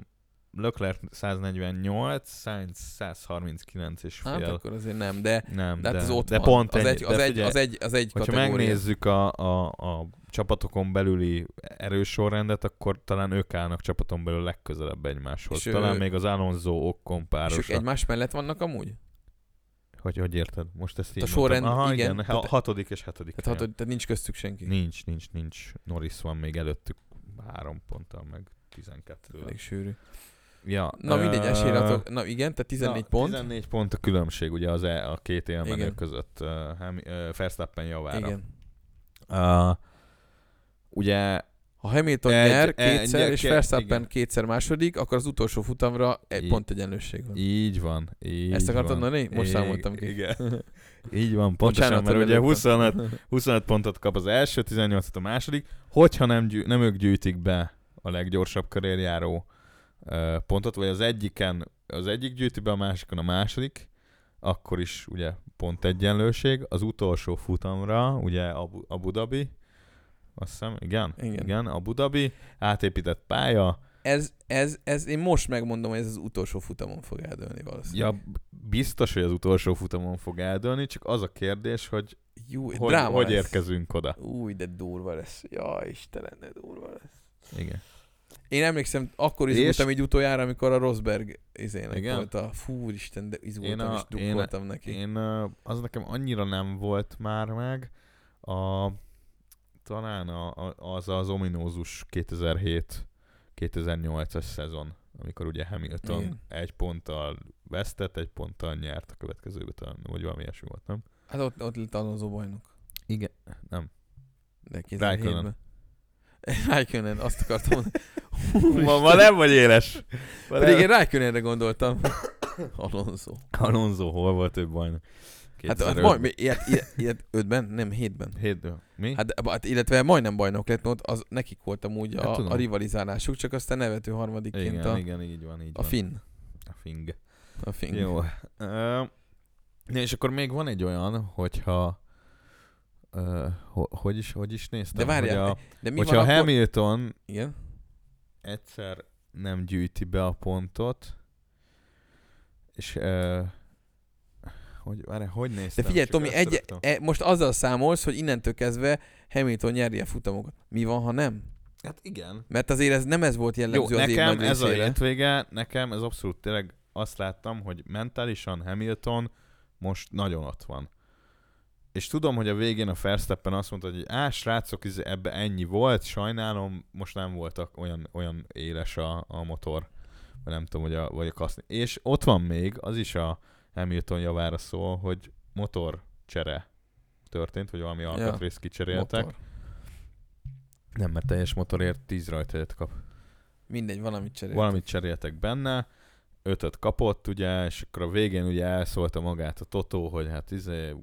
B: Leclerc 148, Sainz 139 és
A: Hát
B: fél. Hát,
A: akkor azért nem, de,
B: nem,
A: de,
B: de,
A: hát az ott
B: de
A: van.
B: pont
A: az,
B: ennyi.
A: egy, az,
B: de
A: egy,
B: figyelj,
A: az, egy, az egy
B: hogyha
A: kategória.
B: megnézzük a, a, a csapatokon belüli erős sorrendet, akkor talán ők állnak csapaton belül legközelebb egymáshoz.
A: És ő-
B: talán még az Alonso Okkon
A: és ők
B: párosa.
A: egymás mellett vannak amúgy?
B: Hogy, hogy érted? Most ezt így
A: Hát A
B: mondtam.
A: sorrend-
B: Aha,
A: igen,
B: igen. igen.
A: tehát-
B: Ha, hatodik és hetedik.
A: Tehát,
B: helyen.
A: hát, tehát nincs köztük senki.
B: Nincs, nincs, nincs. Norris van még előttük három ponttal, meg 12
A: Elég sűrű.
B: Ja,
A: Na mindegy,
B: ö,
A: esélylatok. Na igen, tehát 14
B: na,
A: pont.
B: 14 pont a különbség ugye az e, a két élmenő
A: Igen.
B: között uh, Hemi, uh, Verstappen javára.
A: Igen.
B: Uh, ugye
A: Ha Hamilton
B: Egy-
A: nyer
B: egy-
A: kétszer,
B: egy-
A: és
B: egy-
A: Verstappen
B: igen.
A: kétszer második, akkor az utolsó futamra egy
B: Így-
A: pont egyenlőség van.
B: így van, így
A: Ezt akartad
B: van.
A: mondani? Most
B: Ig-
A: számoltam ki.
B: Igen. Így van, pontosan,
A: Bocsánat,
B: mert
A: hogy
B: ugye
A: előttem.
B: 25, 25 pontot kap az első, 18-at a második. Hogyha nem, gyű, nem ők gyűjtik be a leggyorsabb körén járó ö, pontot, vagy az egyiken az egyik gyűjti be, a másikon a második, akkor is ugye pont egyenlőség. Az utolsó futamra, ugye Abu, Abu Dhabi, azt hiszem, igen,
A: Igen.
B: igen, Abu Dhabi, átépített pálya,
A: Ez, ez, ez, én most megmondom, hogy ez az utolsó futamon fog eldőlni valószínűleg.
B: ja, biztos, hogy az utolsó futamon fog eldőlni, csak az a kérdés, hogy
A: Jú,
B: hogy,
A: dráma
B: hogy
A: lesz.
B: érkezünk oda.
A: Új, de durva lesz. Ja, Istenem, de durva lesz.
B: Igen.
A: Én emlékszem, akkor
B: És-
A: izgultam így utoljára, amikor a Rosberg izének
B: Igen?
A: volt a... Fú, Isten, de izgultam
B: Én a-
A: és
B: én-
A: dukkoltam neki.
B: Én, ö, az nekem annyira nem volt már meg, a, talán a, a, az az ominózus 2007-2008-as szezon, amikor ugye Hamilton
A: Igen.
B: Igen. egy ponttal vesztett, egy ponttal nyert a következőben, talán, vagy valami ilyesmi volt, nem?
A: Hát ott, ott lett Alonso bajnok.
B: Igen. Nem.
A: De
B: Raikkonen.
A: 2007-ben. Raikkonen, azt akartam mondani.
B: Ma, ma nem vagy éles! Ma
A: Pedig
B: nem.
A: én Raikkonenre gondoltam. Alonso.
B: Alonso hol volt több bajnok?
A: Hát, hát
B: 2005-ben.
A: majd, mi- ilyet, ilyet, ilyet ötben, nem hétben.
B: Hét, mi? Hát,
A: Hát, de- hát, illetve majdnem bajnok lett, ott az nekik volt amúgy
B: Hát
A: a,
B: tudom.
A: a rivalizálásuk, csak aztán nevető harmadikként
B: igen,
A: a,
B: igen, így van, így
A: a
B: van.
A: finn.
B: a fing.
A: A finn.
B: Jó. Ö, és akkor még van egy olyan, hogyha ö, ho- hogy is, hogy is néztem?
A: De várjál,
B: hogy a,
A: De mi
B: hogyha
A: van
B: a
A: akkor...
B: Hamilton
A: Igen?
B: egyszer nem gyűjti be a pontot, és ö, hogy, várjál, hogy
A: De
B: néztem?
A: figyelj,
B: Csak
A: Tomi, egy,
B: összeraktam.
A: e, most azzal számolsz, hogy innentől kezdve Hamilton nyerje a futamokat. Mi van, ha nem?
B: Hát igen.
A: Mert azért ez nem ez volt
B: Jó,
A: jellemző az év
B: nekem
A: nagy
B: ez a
A: részére.
B: hétvége, nekem ez abszolút tényleg azt láttam, hogy mentálisan Hamilton most nagyon ott van. És tudom, hogy a végén a Verstappen azt mondta, hogy á, srácok, izé, ebbe ennyi volt, sajnálom, most nem voltak olyan, olyan éles a, a motor, vagy nem tudom, hogy a, vagy a kaszni. És ott van még, az is a Hamilton javára szól, hogy motorcsere történt, vagy valami alkatrészt kicseréltek.
A: Motor.
B: Nem, mert teljes motorért 10 rajtajet kap.
A: Mindegy, valamit cserél.
B: Valamit cseréltek benne, ötöt kapott, ugye, és akkor a végén ugye elszólta magát a Totó, hogy hát izé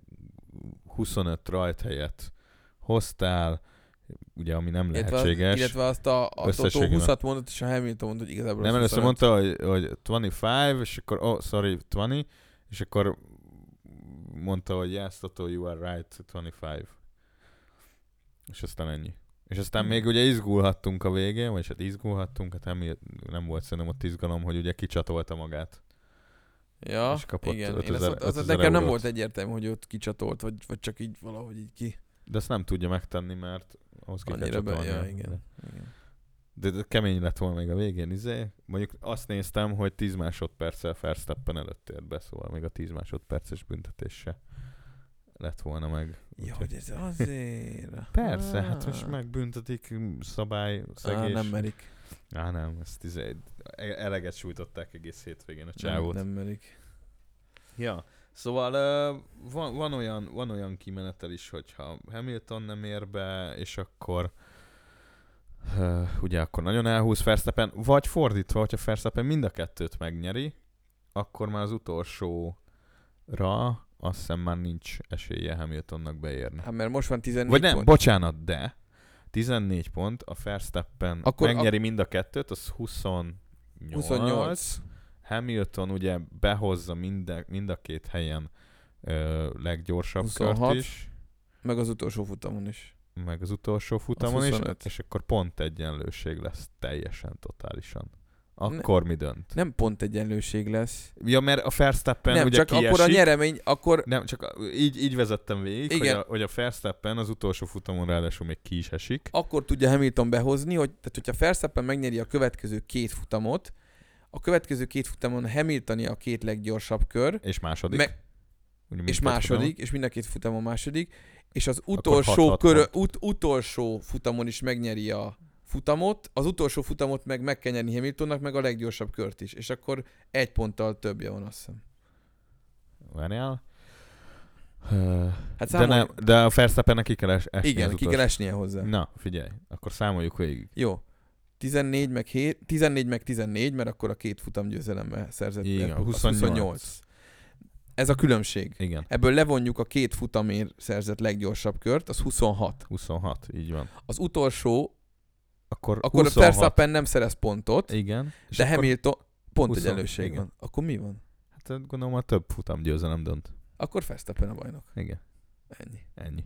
B: 25 rajt helyett hoztál, ugye, ami nem lehetséges.
A: Az, illetve azt a, a Totó
B: Összességében.
A: 20 mondott, és a Hamilton mondta, hogy igazából
B: nem,
A: az
B: először
A: 25.
B: mondta, hogy, hogy 25, és akkor, oh, sorry, 20, és akkor mondta, hogy yes, Totó, you are right, 25. És aztán ennyi. És aztán
A: Hmm.
B: még ugye izgulhattunk a végén, vagyis hát izgulhattunk, hát nem, nem volt szerintem ott izgalom, hogy ugye kicsatolta magát.
A: Ja,
B: és kapott
A: igen.
B: 5000
A: Én azt, azt, azt
B: 5000
A: nekem nem
B: eurót.
A: volt egyértelmű, hogy ott kicsatolt, vagy, vagy csak így valahogy így ki.
B: De ezt nem tudja megtenni, mert ahhoz ki kell
A: Annyira be, ja,
B: csatolnia.
A: igen. igen.
B: De, de kemény lett volna még a végén, izé. Mondjuk azt néztem, hogy 10 másodperccel Verstappen előtt ért be, szóval még a 10 másodperces büntetés se lett volna meg.
A: Ja,
B: Úgyhogy-
A: hogy ez azért.
B: Persze, hát most
A: Ah.
B: megbüntetik m, szabály,
A: Á,
B: szegés.
A: nem merik.
B: Á, nem, ezt izé, eleget sújtották egész hétvégén a
A: Nem,
B: csávót.
A: nem merik.
B: Ja, szóval ö, van, van, olyan, van olyan kimenetel is, hogyha Hamilton nem ér be, és akkor ö, ugye akkor nagyon elhúz Verstappen, vagy fordítva, hogyha Verstappen mind a kettőt megnyeri, akkor már az utolsóra azt hiszem már nincs esélye Hamiltonnak beérni.
A: Hát mert most van 14
B: Vagy nem,
A: pont.
B: bocsánat, de 14 pont, a Verstappen
A: Akkor
B: akkor
A: a-
B: megnyeri mind a kettőt, az 28.
A: 28.
B: Hamilton ugye behozza minden, mind a két helyen ö, leggyorsabb
A: 26.
B: kört is,
A: Meg az utolsó futamon is.
B: meg az utolsó futamon is,
A: 25.
B: és akkor pont egyenlőség lesz teljesen, totálisan. Akkor mi dönt?
A: Nem pont egyenlőség lesz.
B: Ja, mert a Verstappen
A: nem,
B: ugye
A: csak
B: kiesik.
A: akkor a nyeremény, akkor
B: Nem, csak a- így, így vezettem végig,
A: Igen.
B: Hogy, a, hogy a Verstappen az utolsó futamon ráadásul még ki is esik.
A: akkor tudja Hamilton behozni, hogy tehát hogyha Verstappen megnyeri a következő két futamot, a következő két futamon Hamiltoni a két leggyorsabb kör,
B: És második.
A: meg,
B: Ugye
A: és
B: mindkét
A: második,
B: futamon.
A: és mind a két futamon második, és az
B: hat-
A: utolsó,
B: hat
A: kör, ut, utolsó futamon is megnyeri a futamot, az utolsó futamot meg meg kell nyerni Hamiltonnak, meg a leggyorsabb kört is, és akkor egy ponttal többje van, azt hiszem.
B: Várjál. Ö,
A: Hát
B: De,
A: számolj,
B: nem, de a Verstappennek ki kell es, esni az
A: igen, ki kell
B: utolsó- Mm.
A: esnie hozzá.
B: Na, figyelj, akkor számoljuk végig.
A: Jó. 14 meg, 7, 14 meg 14, mert akkor a két futam győzelemmel szerzett.
B: Igen,
A: el- az
B: 28.
A: Ez a különbség.
B: Igen,
A: Ebből levonjuk a két futamért szerzett leggyorsabb kört, az 26.
B: 26, így van.
A: Az utolsó,
B: Akkor,
A: akkor
B: 26,
A: Verstappen nem szerez pontot,
B: Igen. És
A: de
B: akkor,
A: Hamilton pont
B: 20,
A: egyenlőség
B: igen.
A: van. Akkor mi van?
B: Hát gondolom a több futam győzelem dönt.
A: Akkor Verstappen a bajnok.
B: Igen,
A: Ennyi.
B: ennyi.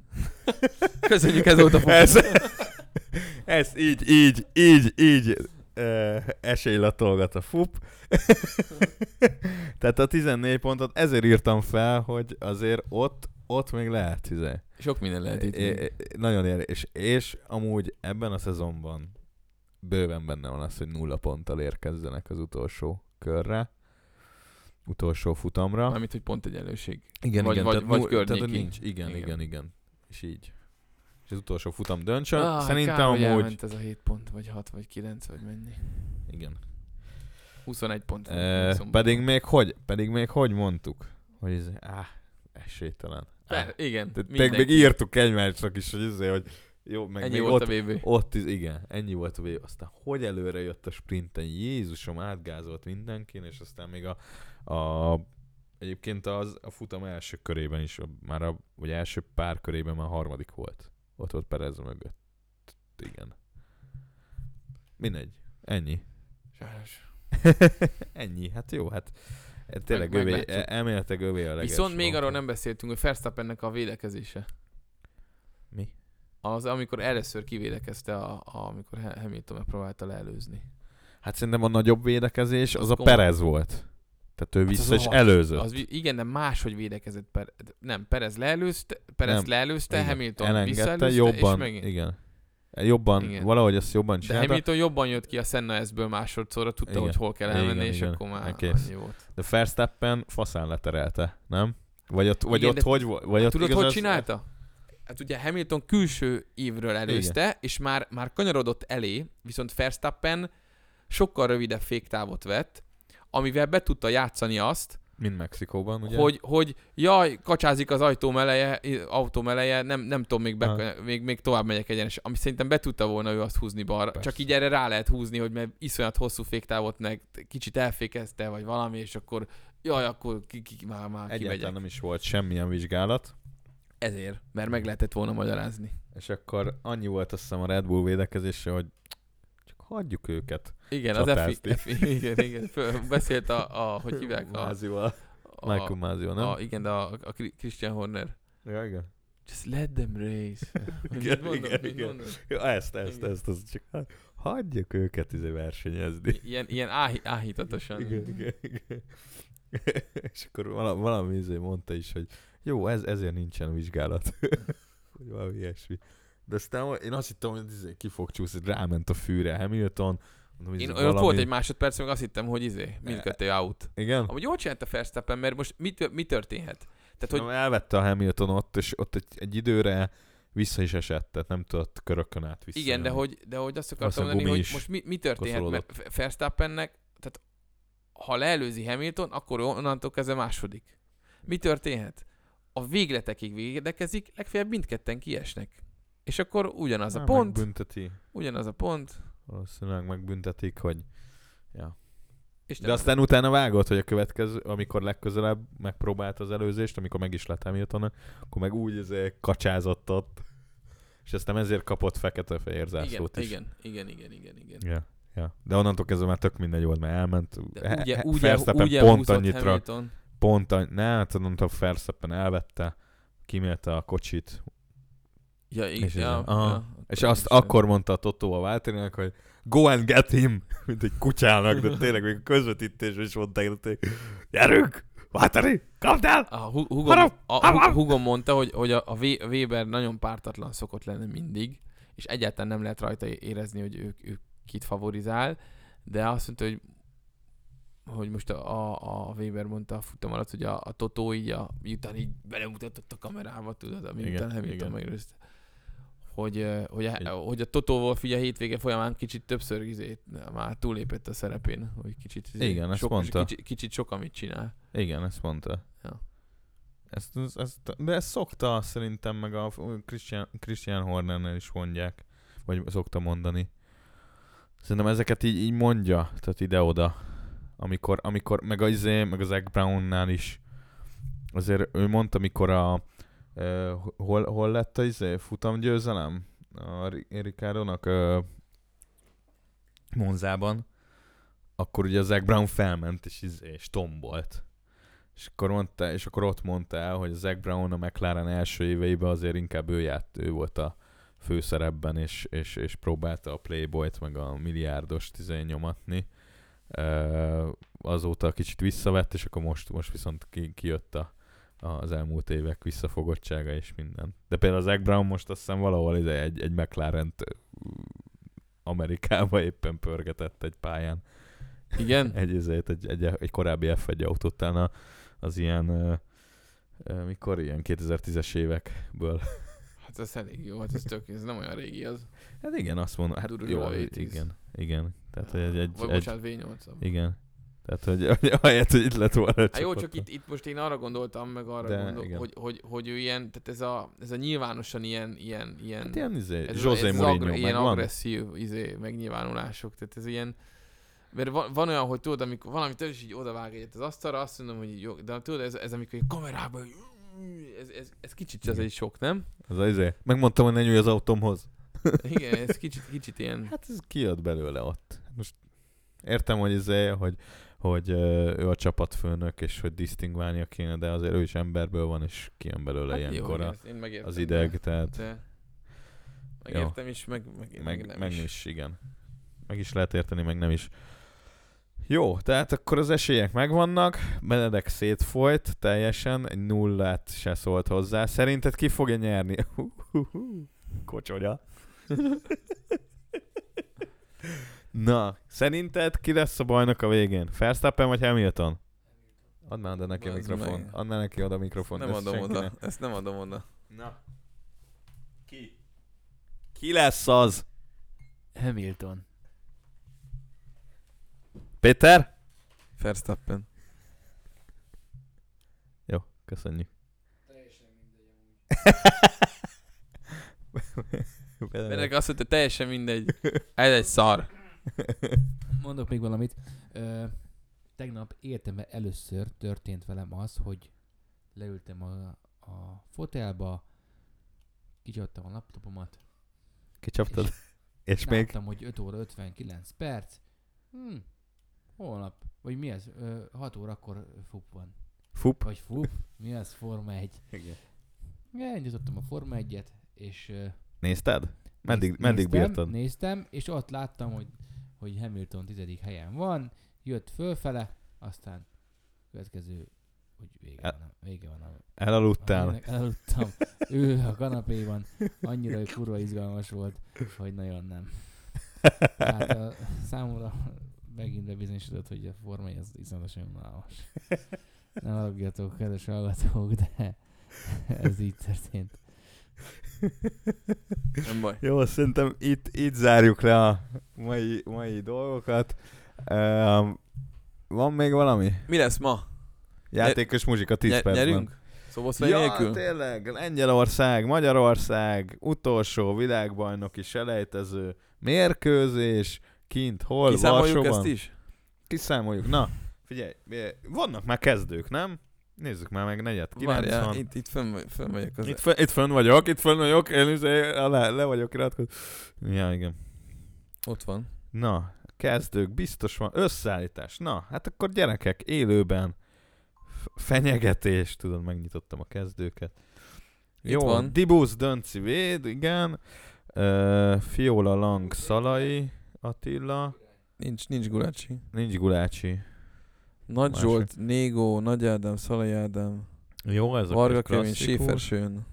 A: Köszönjük ez volt a fut-
B: ez, ez így, így, így, így ö, esélylatolgat a fup. Tehát a 14 pontot ezért írtam fel, hogy azért ott, ott még lehet, izé.
A: Sok minden lehet itt.
B: É- é- Nagyon érdekes. És amúgy ebben a szezonban bőven benne van az, hogy nulla ponttal érkezzenek az utolsó körre, utolsó futamra.
A: Mármint, hogy pont egyenlőség.
B: Igen,
A: vagy-
B: igen,
A: vagy-
B: tehát,
A: vagy
B: null- tehát hogy
A: környéki.
B: nincs. Igen, igen,
A: Igen.
B: igen, igen. És így. És az utolsó futam döntsön. Szerintem amúgy...
A: ez a 7 pont, vagy 6, vagy 9, vagy mennyi.
B: Igen.
A: 21 pont.
B: E, pedig még hogy, pedig még hogy mondtuk, hogy ez, áh, esélytelen. Áh.
A: Per, igen,
B: De
A: mindenki.
B: Még, még írtuk egymásnak is, hogy, izé, hogy jó, meg
A: Ennyi
B: még
A: volt
B: ott
A: a VB.
B: Ott is, igen, ennyi volt a vég. Aztán hogy előre jött a sprinten, Jézusom, átgázolt mindenkin, és aztán még a, a egyébként az, a futam első körében is, a- már a, vagy első pár körében már harmadik volt. Ott volt Perez mögött. Igen. Mindegy. Ennyi.
A: Sajnos.
B: ennyi. Hát jó, hát e- tényleg
A: Meg-
B: övé,
A: meglátjuk.
B: e- elméletileg övé a leges
A: Viszont még
B: volt.
A: arról nem beszéltünk, hogy Verstappennek a védekezése.
B: Mi?
A: Az, amikor először kivédekezte, a, a, amikor Ha- Hamilton megpróbálta leelőzni.
B: Hát szerintem a nagyobb védekezés az a
A: komoly. Hát
B: Perez volt. Tehát ő
A: az
B: vissza is
A: rohadt.
B: előzött.
A: Az, vi- igen, de máshogy védekezett. Per, nem, Perez leelőzte, Perez
B: Nem,
A: leelőzte,
B: Igen.
A: Hamilton
B: elengedte,
A: visszaelőzte,
B: jobban,
A: és megint.
B: igen. Jobban,
A: Igen.
B: valahogy ezt jobban
A: De
B: csinálta. De,
A: Hamilton jobban jött ki a Senna S-ből másodszorra, tudta,
B: Igen.
A: hogy hol kell
B: Igen,
A: elmenni, és
B: igen.
A: akkor már
B: Kész.
A: annyi volt.
B: de Verstappen faszán leterelte, nem? Vagy ott, vagy
A: Igen,
B: ott
A: de- Hát
B: hogy volt? Vagy ott
A: Tudod,
B: igaz,
A: hogy
B: az-
A: csinálta? Hát ugye Hamilton külső évről előzte, és már, már kanyarodott elé, viszont Verstappen sokkal rövidebb féktávot vett, amivel be tudta játszani azt,
B: Mind Mexikóban, ugye?
A: hogy, hogy jaj, kacsázik az ajtó meleje, autó meleje, nem, nem tudom, még, be,
B: Aha.
A: még, még tovább megyek egyenes, ami szerintem be tudta volna ő azt húzni balra.
B: Persze.
A: Csak így erre rá lehet húzni, hogy mert iszonyat hosszú féktávot meg kicsit elfékezte, vagy valami, és akkor jaj, akkor ki, ki, már, már kivegyek.
B: Egyáltalán nem is volt semmilyen vizsgálat.
A: Ezért, mert meg lehetett volna magyarázni.
B: És akkor annyi volt azt hiszem a Red Bull védekezésre, hogy csak hagyjuk őket.
A: Igen, az
B: csatázni.
A: FI, FI, igen, igen, föl, beszélt a, a hogy hívják? A,
B: Mázival.
A: a,
B: Hát, Michael
A: a,
B: Mázival, nem?
A: a, igen, de a, a Kri- Christian Horner.
B: Ja, igen.
A: Just let them race.
B: Igen,
A: Mit mondom,
B: igen,
A: mit
B: igen.
A: mondom?
B: Ja, ezt, ezt,
A: Igen.
B: ezt, ezt, csak ha- hagyjuk őket izé versenyezni.
A: Ilyen, ilyen áhi, áhítatosan.
B: Igen, igen, igen. És akkor valami, valami izé mondta is, hogy jó, ez, ezért nincsen vizsgálat. Hogy valami ilyesmi. De aztán én azt hittem, hogy izé ki fog csúszni, ráment a fűre Hamilton. Mondom,
A: Én,
B: izé
A: ott volt egy másodperc, meg azt hittem, hogy izé, mindkettő out.
B: Igen?
A: Amúgy jól csinálta Verstappen, mert most mi, tör- mi történhet?
B: hogy...
A: Tehát, hogy
B: elvette a Hamilton ott, és ott egy, egy időre vissza is esett, tehát nem tudott körökön át vissza.
A: igen, de hogy, de hogy azt
B: Azt a
A: akartam
B: gumi
A: mondani, hogy
B: is
A: most mi, mi történhet, mert
B: koszolódott.
A: F- Verstappennek, tehát ha leelőzi Hamilton, akkor onnantól kezdve második. Mi történhet? A végletekig védekezik, legfeljebb mindketten kiesnek. És akkor ugyanaz a pont,
B: Megbünteti,
A: ugyanaz a pont,
B: valószínűleg megbüntetik, hogy...
A: és
B: De aztán utána vágott, hogy a következő, amikor legközelebb megpróbált az előzést, amikor meg is lett hamilton akkor meg úgy izé kacsázott ott, és aztán ezért kapott fekete-fehér
A: igen,
B: zászlót is.
A: igen, igen, igen, igen, igen.
B: Ja, ja. De onnantól kezdve már tök mindegy volt, mert elment.
A: De ugye,
B: He-
A: ugye,
B: Verstappen
A: ugye
B: pont
A: húzott
B: annyit rak,
A: Hamilton.
B: pont annyit, ne, hát onnantól Verstappen elvette, kimélte a kocsit,
A: Ja, igen.
B: És ez-
A: ja,
B: aha.
A: ja,
B: És azt
A: Isten.
B: akkor mondta a Totó a Váltérinek, hogy go and get him, mint egy kutyának, de tényleg még a közvetítésben is mondták, hogy tényleg, gyerünk, Váltéri, kapd el!
A: A Hu-
B: Harap!
A: Hugom, a Hu- Hugom mondta, hogy, hogy a, a Vé- Weber nagyon pártatlan szokott lenni mindig, és egyáltalán nem lehet rajta érezni, hogy ő, ő kit favorizál, de azt mondta, hogy hogy most a, a, a Weber mondta a futam alatt, hogy a, a Totó így, a, miután így belemutatott a kamerába, tudod, ami
B: Igen,
A: után Hamilton
B: igen.
A: megrőzte, hogy, ö, hogy,
B: Egy-
A: a, hogy a Totóval figyelj hétvége folyamán kicsit többször izé, már túlépett a szerepén, hogy kicsit, izé,
B: Igen, ezt
A: sok,
B: mondta.
A: Kicsit, kicsit sok, amit csinál.
B: Igen, ezt mondta.
A: Ja.
B: Ezt, ezt, ezt, de ezt szokta szerintem, meg a Christian, Christian Hornernél is mondják, vagy szokta mondani. Szerintem ezeket így, így mondja, tehát ide-oda. Amikor, amikor, meg az, izé, meg az Egg Brownnál is. Azért ő mondta, mikor a, ö, hol, hol lett a izé, futamgyőzelem? A Ri- Ricardonak ö, Monzában. Akkor ugye az Egg Brown felment, és, izé, és tombolt. És akkor, mondta, és akkor ott mondta el, hogy Zac Brown a McLaren első éveiben azért inkább ő, járt, ő volt a főszerepben, és, és, és próbálta a Playboy-t, meg a milliárdos tizén nyomatni. Ö, Azóta kicsit visszavett, és akkor most, most viszont ki, kijött a, az elmúlt évek visszafogottsága és minden. De például az Zac Brown most azt hiszem valahol ide egy, egy mclaren Amerikába éppen pörgetett egy pályán
A: Igen?
B: egy, ezért, egy, egy, egy korábbi F1 autó után a- az ilyen ö, ö, mikor ilyen 2010-es évekből.
A: Hát ez elég jó, hát ez tök, ez nem olyan régi az.
B: Hát igen, azt mondom, hát
A: Durul
B: jó,
A: a V10.
B: igen, igen. Tehát, hogy egy, egy,
A: Vagy
B: egy
A: bocsánat, V8.
B: igen. Tehát, hogy, hogy ahelyett, hogy itt lett volna
A: Hát jó, csak
B: csapatban.
A: itt, itt most én arra gondoltam, meg arra
B: De,
A: De, gondol,
B: igen.
A: hogy, hogy, hogy, ő ilyen, tehát ez a, ez a nyilvánosan ilyen, ilyen, ilyen,
B: Hát ilyen izé,
A: ez,
B: José
A: ez az
B: Mourinho
A: agre, ilyen
B: megvan.
A: agresszív izé, megnyilvánulások, tehát ez ilyen, mert van, van olyan, hogy tudod, amikor valami tőle is így odavág egyet az asztalra, azt mondom, hogy így jó, de tudod, ez, ez amikor egy kamerában, így, ez, ez, ez kicsit az egy sok, nem?
B: Ez az izé. Megmondtam, hogy ne nyúlj az autómhoz.
A: Igen, ez kicsit, kicsit ilyen.
B: Hát ez kijött belőle ott. Most értem, hogy izé, hogy, hogy ö, ő a csapatfőnök, és hogy disztingválnia kéne, de azért ő is emberből van, és kijön belőle
A: Hát
B: ilyenkor a,
A: ezt én megértem,
B: az
A: de-
B: ideg, tehát
A: De, Hát, Megértem is, meg, meg, meg,
B: Meg,
A: nem
B: meg
A: is.
B: is. igen. Meg is lehet érteni, meg nem is. Jó, tehát akkor az esélyek megvannak, Benedek szétfolyt teljesen, egy nullát se szólt hozzá. Szerinted ki fogja nyerni? Kocsonya. Na, szerinted ki lesz a bajnok a végén? Verstappen vagy Hamilton? Add már oda neki a
A: Bazd
B: mikrofon.
A: meg.
B: Add már neki oda a mikrofon.
A: Nem
B: Ezt
A: adom
B: senki
A: oda,
B: ne-
A: ezt nem adom oda.
B: Na. Ki? Ki lesz az?
C: Hamilton.
B: Péter?
A: Verstappen.
B: Jó, köszönjük.
A: Mert azt mondta, teljesen mindegy. Ez egy szar.
C: Mondok még valamit. Ö, tegnap életemben először történt velem az, hogy leültem a, a fotelba, kicsattam a laptopomat,
B: Kicsaptad? És még?
C: láttam, hogy 5 óra 59 perc. Hm, holnap, vagy mi ez? Ö, 6 órakor fup van.
B: Fup?
C: Vagy fup? Mi az? Forma 1. Elindítottam a Forma 1-et, és ö,
B: Nézted? Meddig,
C: Néz-
B: meddig
C: néztem,
B: bírtad?
C: Néztem, és ott láttam, hogy, hogy Hamilton tizedik helyen van, jött fölfele, aztán következő, hogy vége
B: El-
C: van a... Vége van a
B: Elaludtál?
C: aminek Elaludtam. Ő a kanapéban annyira hogy kurva izgalmas volt, hogy nagyon nem. Tehát a, számomra megint bebizonyosodott, hogy a formai az iszonyatosan unalmas. Nem aludjatok, kedves hallgatók, de ez így történt.
A: Nem baj.
B: Jó, szerintem itt, itt zárjuk le a mai, mai dolgokat. Um, van még valami?
A: Mi lesz ma?
B: Játékos muzsika 10
A: Nyer-
B: percben.
A: nyerünk? Szoboszlai
B: ja,
A: nélkül?
B: tényleg, Lengyelország, Magyarország, utolsó világbajnoki selejtező mérkőzés, kint, hol,
A: Kiszámoljuk
B: Varsóban.
A: ezt is?
B: Kiszámoljuk, na, figyelj, eh, vannak már kezdők, nem? Nézzük már meg negyed, 90.
A: Várjál, itt, itt fönn, vagy- fönn vagyok az
B: itt, fön, itt fönn vagyok, itt fönn vagyok, én izé alá, le vagyok iratkozva. Ja, igen.
A: Ott van.
B: Na, kezdők, biztos van, összeállítás. Na, hát akkor gyerekek, élőben, F- fenyegetés, tudod, megnyitottam a kezdőket.
A: Itt
B: Jó,
A: van.
B: Dibusz Dönci véd, igen. Uh, Fiola Lang Szalai Attila.
A: Nincs, nincs Gulácsi.
B: Nincs Gulácsi.
A: Nagy
B: Másik.
A: Zsolt, Négó, Nagy Ádám, Szalai Ádám,
B: Jó, ez
A: Varga
B: a
A: Kevin,
B: klasszikus.
A: Séfersőn.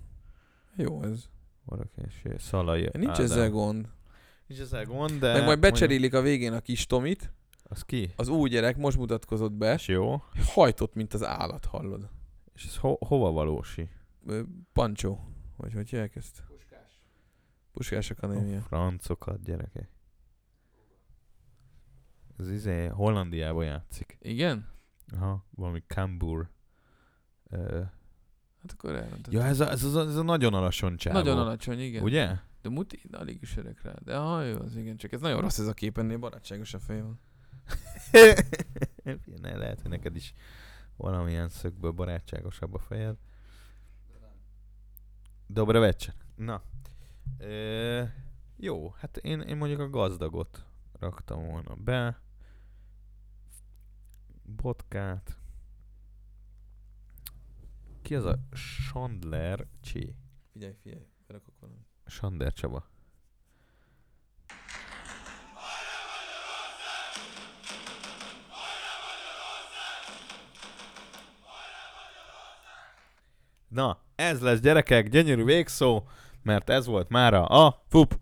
A: Jó ez.
B: Varga Kevin, Séfer- Szalai.
A: Nincs
B: Ádám.
A: ezzel gond.
B: Nincs ezzel gond, de...
A: Meg majd
B: mondjuk,
A: becserélik a végén a kis Tomit.
B: Az ki?
A: Az új gyerek most mutatkozott be.
B: És jó.
A: Hajtott, mint az állat, hallod.
B: És ez ho- hova valósi?
A: Ö, Pancsó. Vagy hogy hívják ezt? Puskás. Puskás
B: A
A: Akadémia.
B: francokat, gyerekek. Ez izé Hollandiában játszik.
A: Igen?
B: Aha, valami Kambur. Uh,
A: Hát akkor elmondtad.
B: ja, ez a, ez, a, ez a nagyon alacsony csávó.
A: Nagyon alacsony, igen. Ugye?
B: Ugye?
A: De muti, de alig is öreg rá. De ha jó, az igen, csak ez nagyon rossz ez a kép, ennél barátságos a fejem.
B: ne, lehet, hogy neked is valamilyen szögből barátságosabb a fejed. Dobra vecsen. Na. Ö, jó, hát én, én mondjuk a gazdagot raktam volna be. Botkát. Ki az a Chandler Csé?
A: Figyelj, figyelj, berakok valamit.
B: Sander Csaba. Na, ez lesz gyerekek, gyönyörű végszó, mert ez volt mára a FUP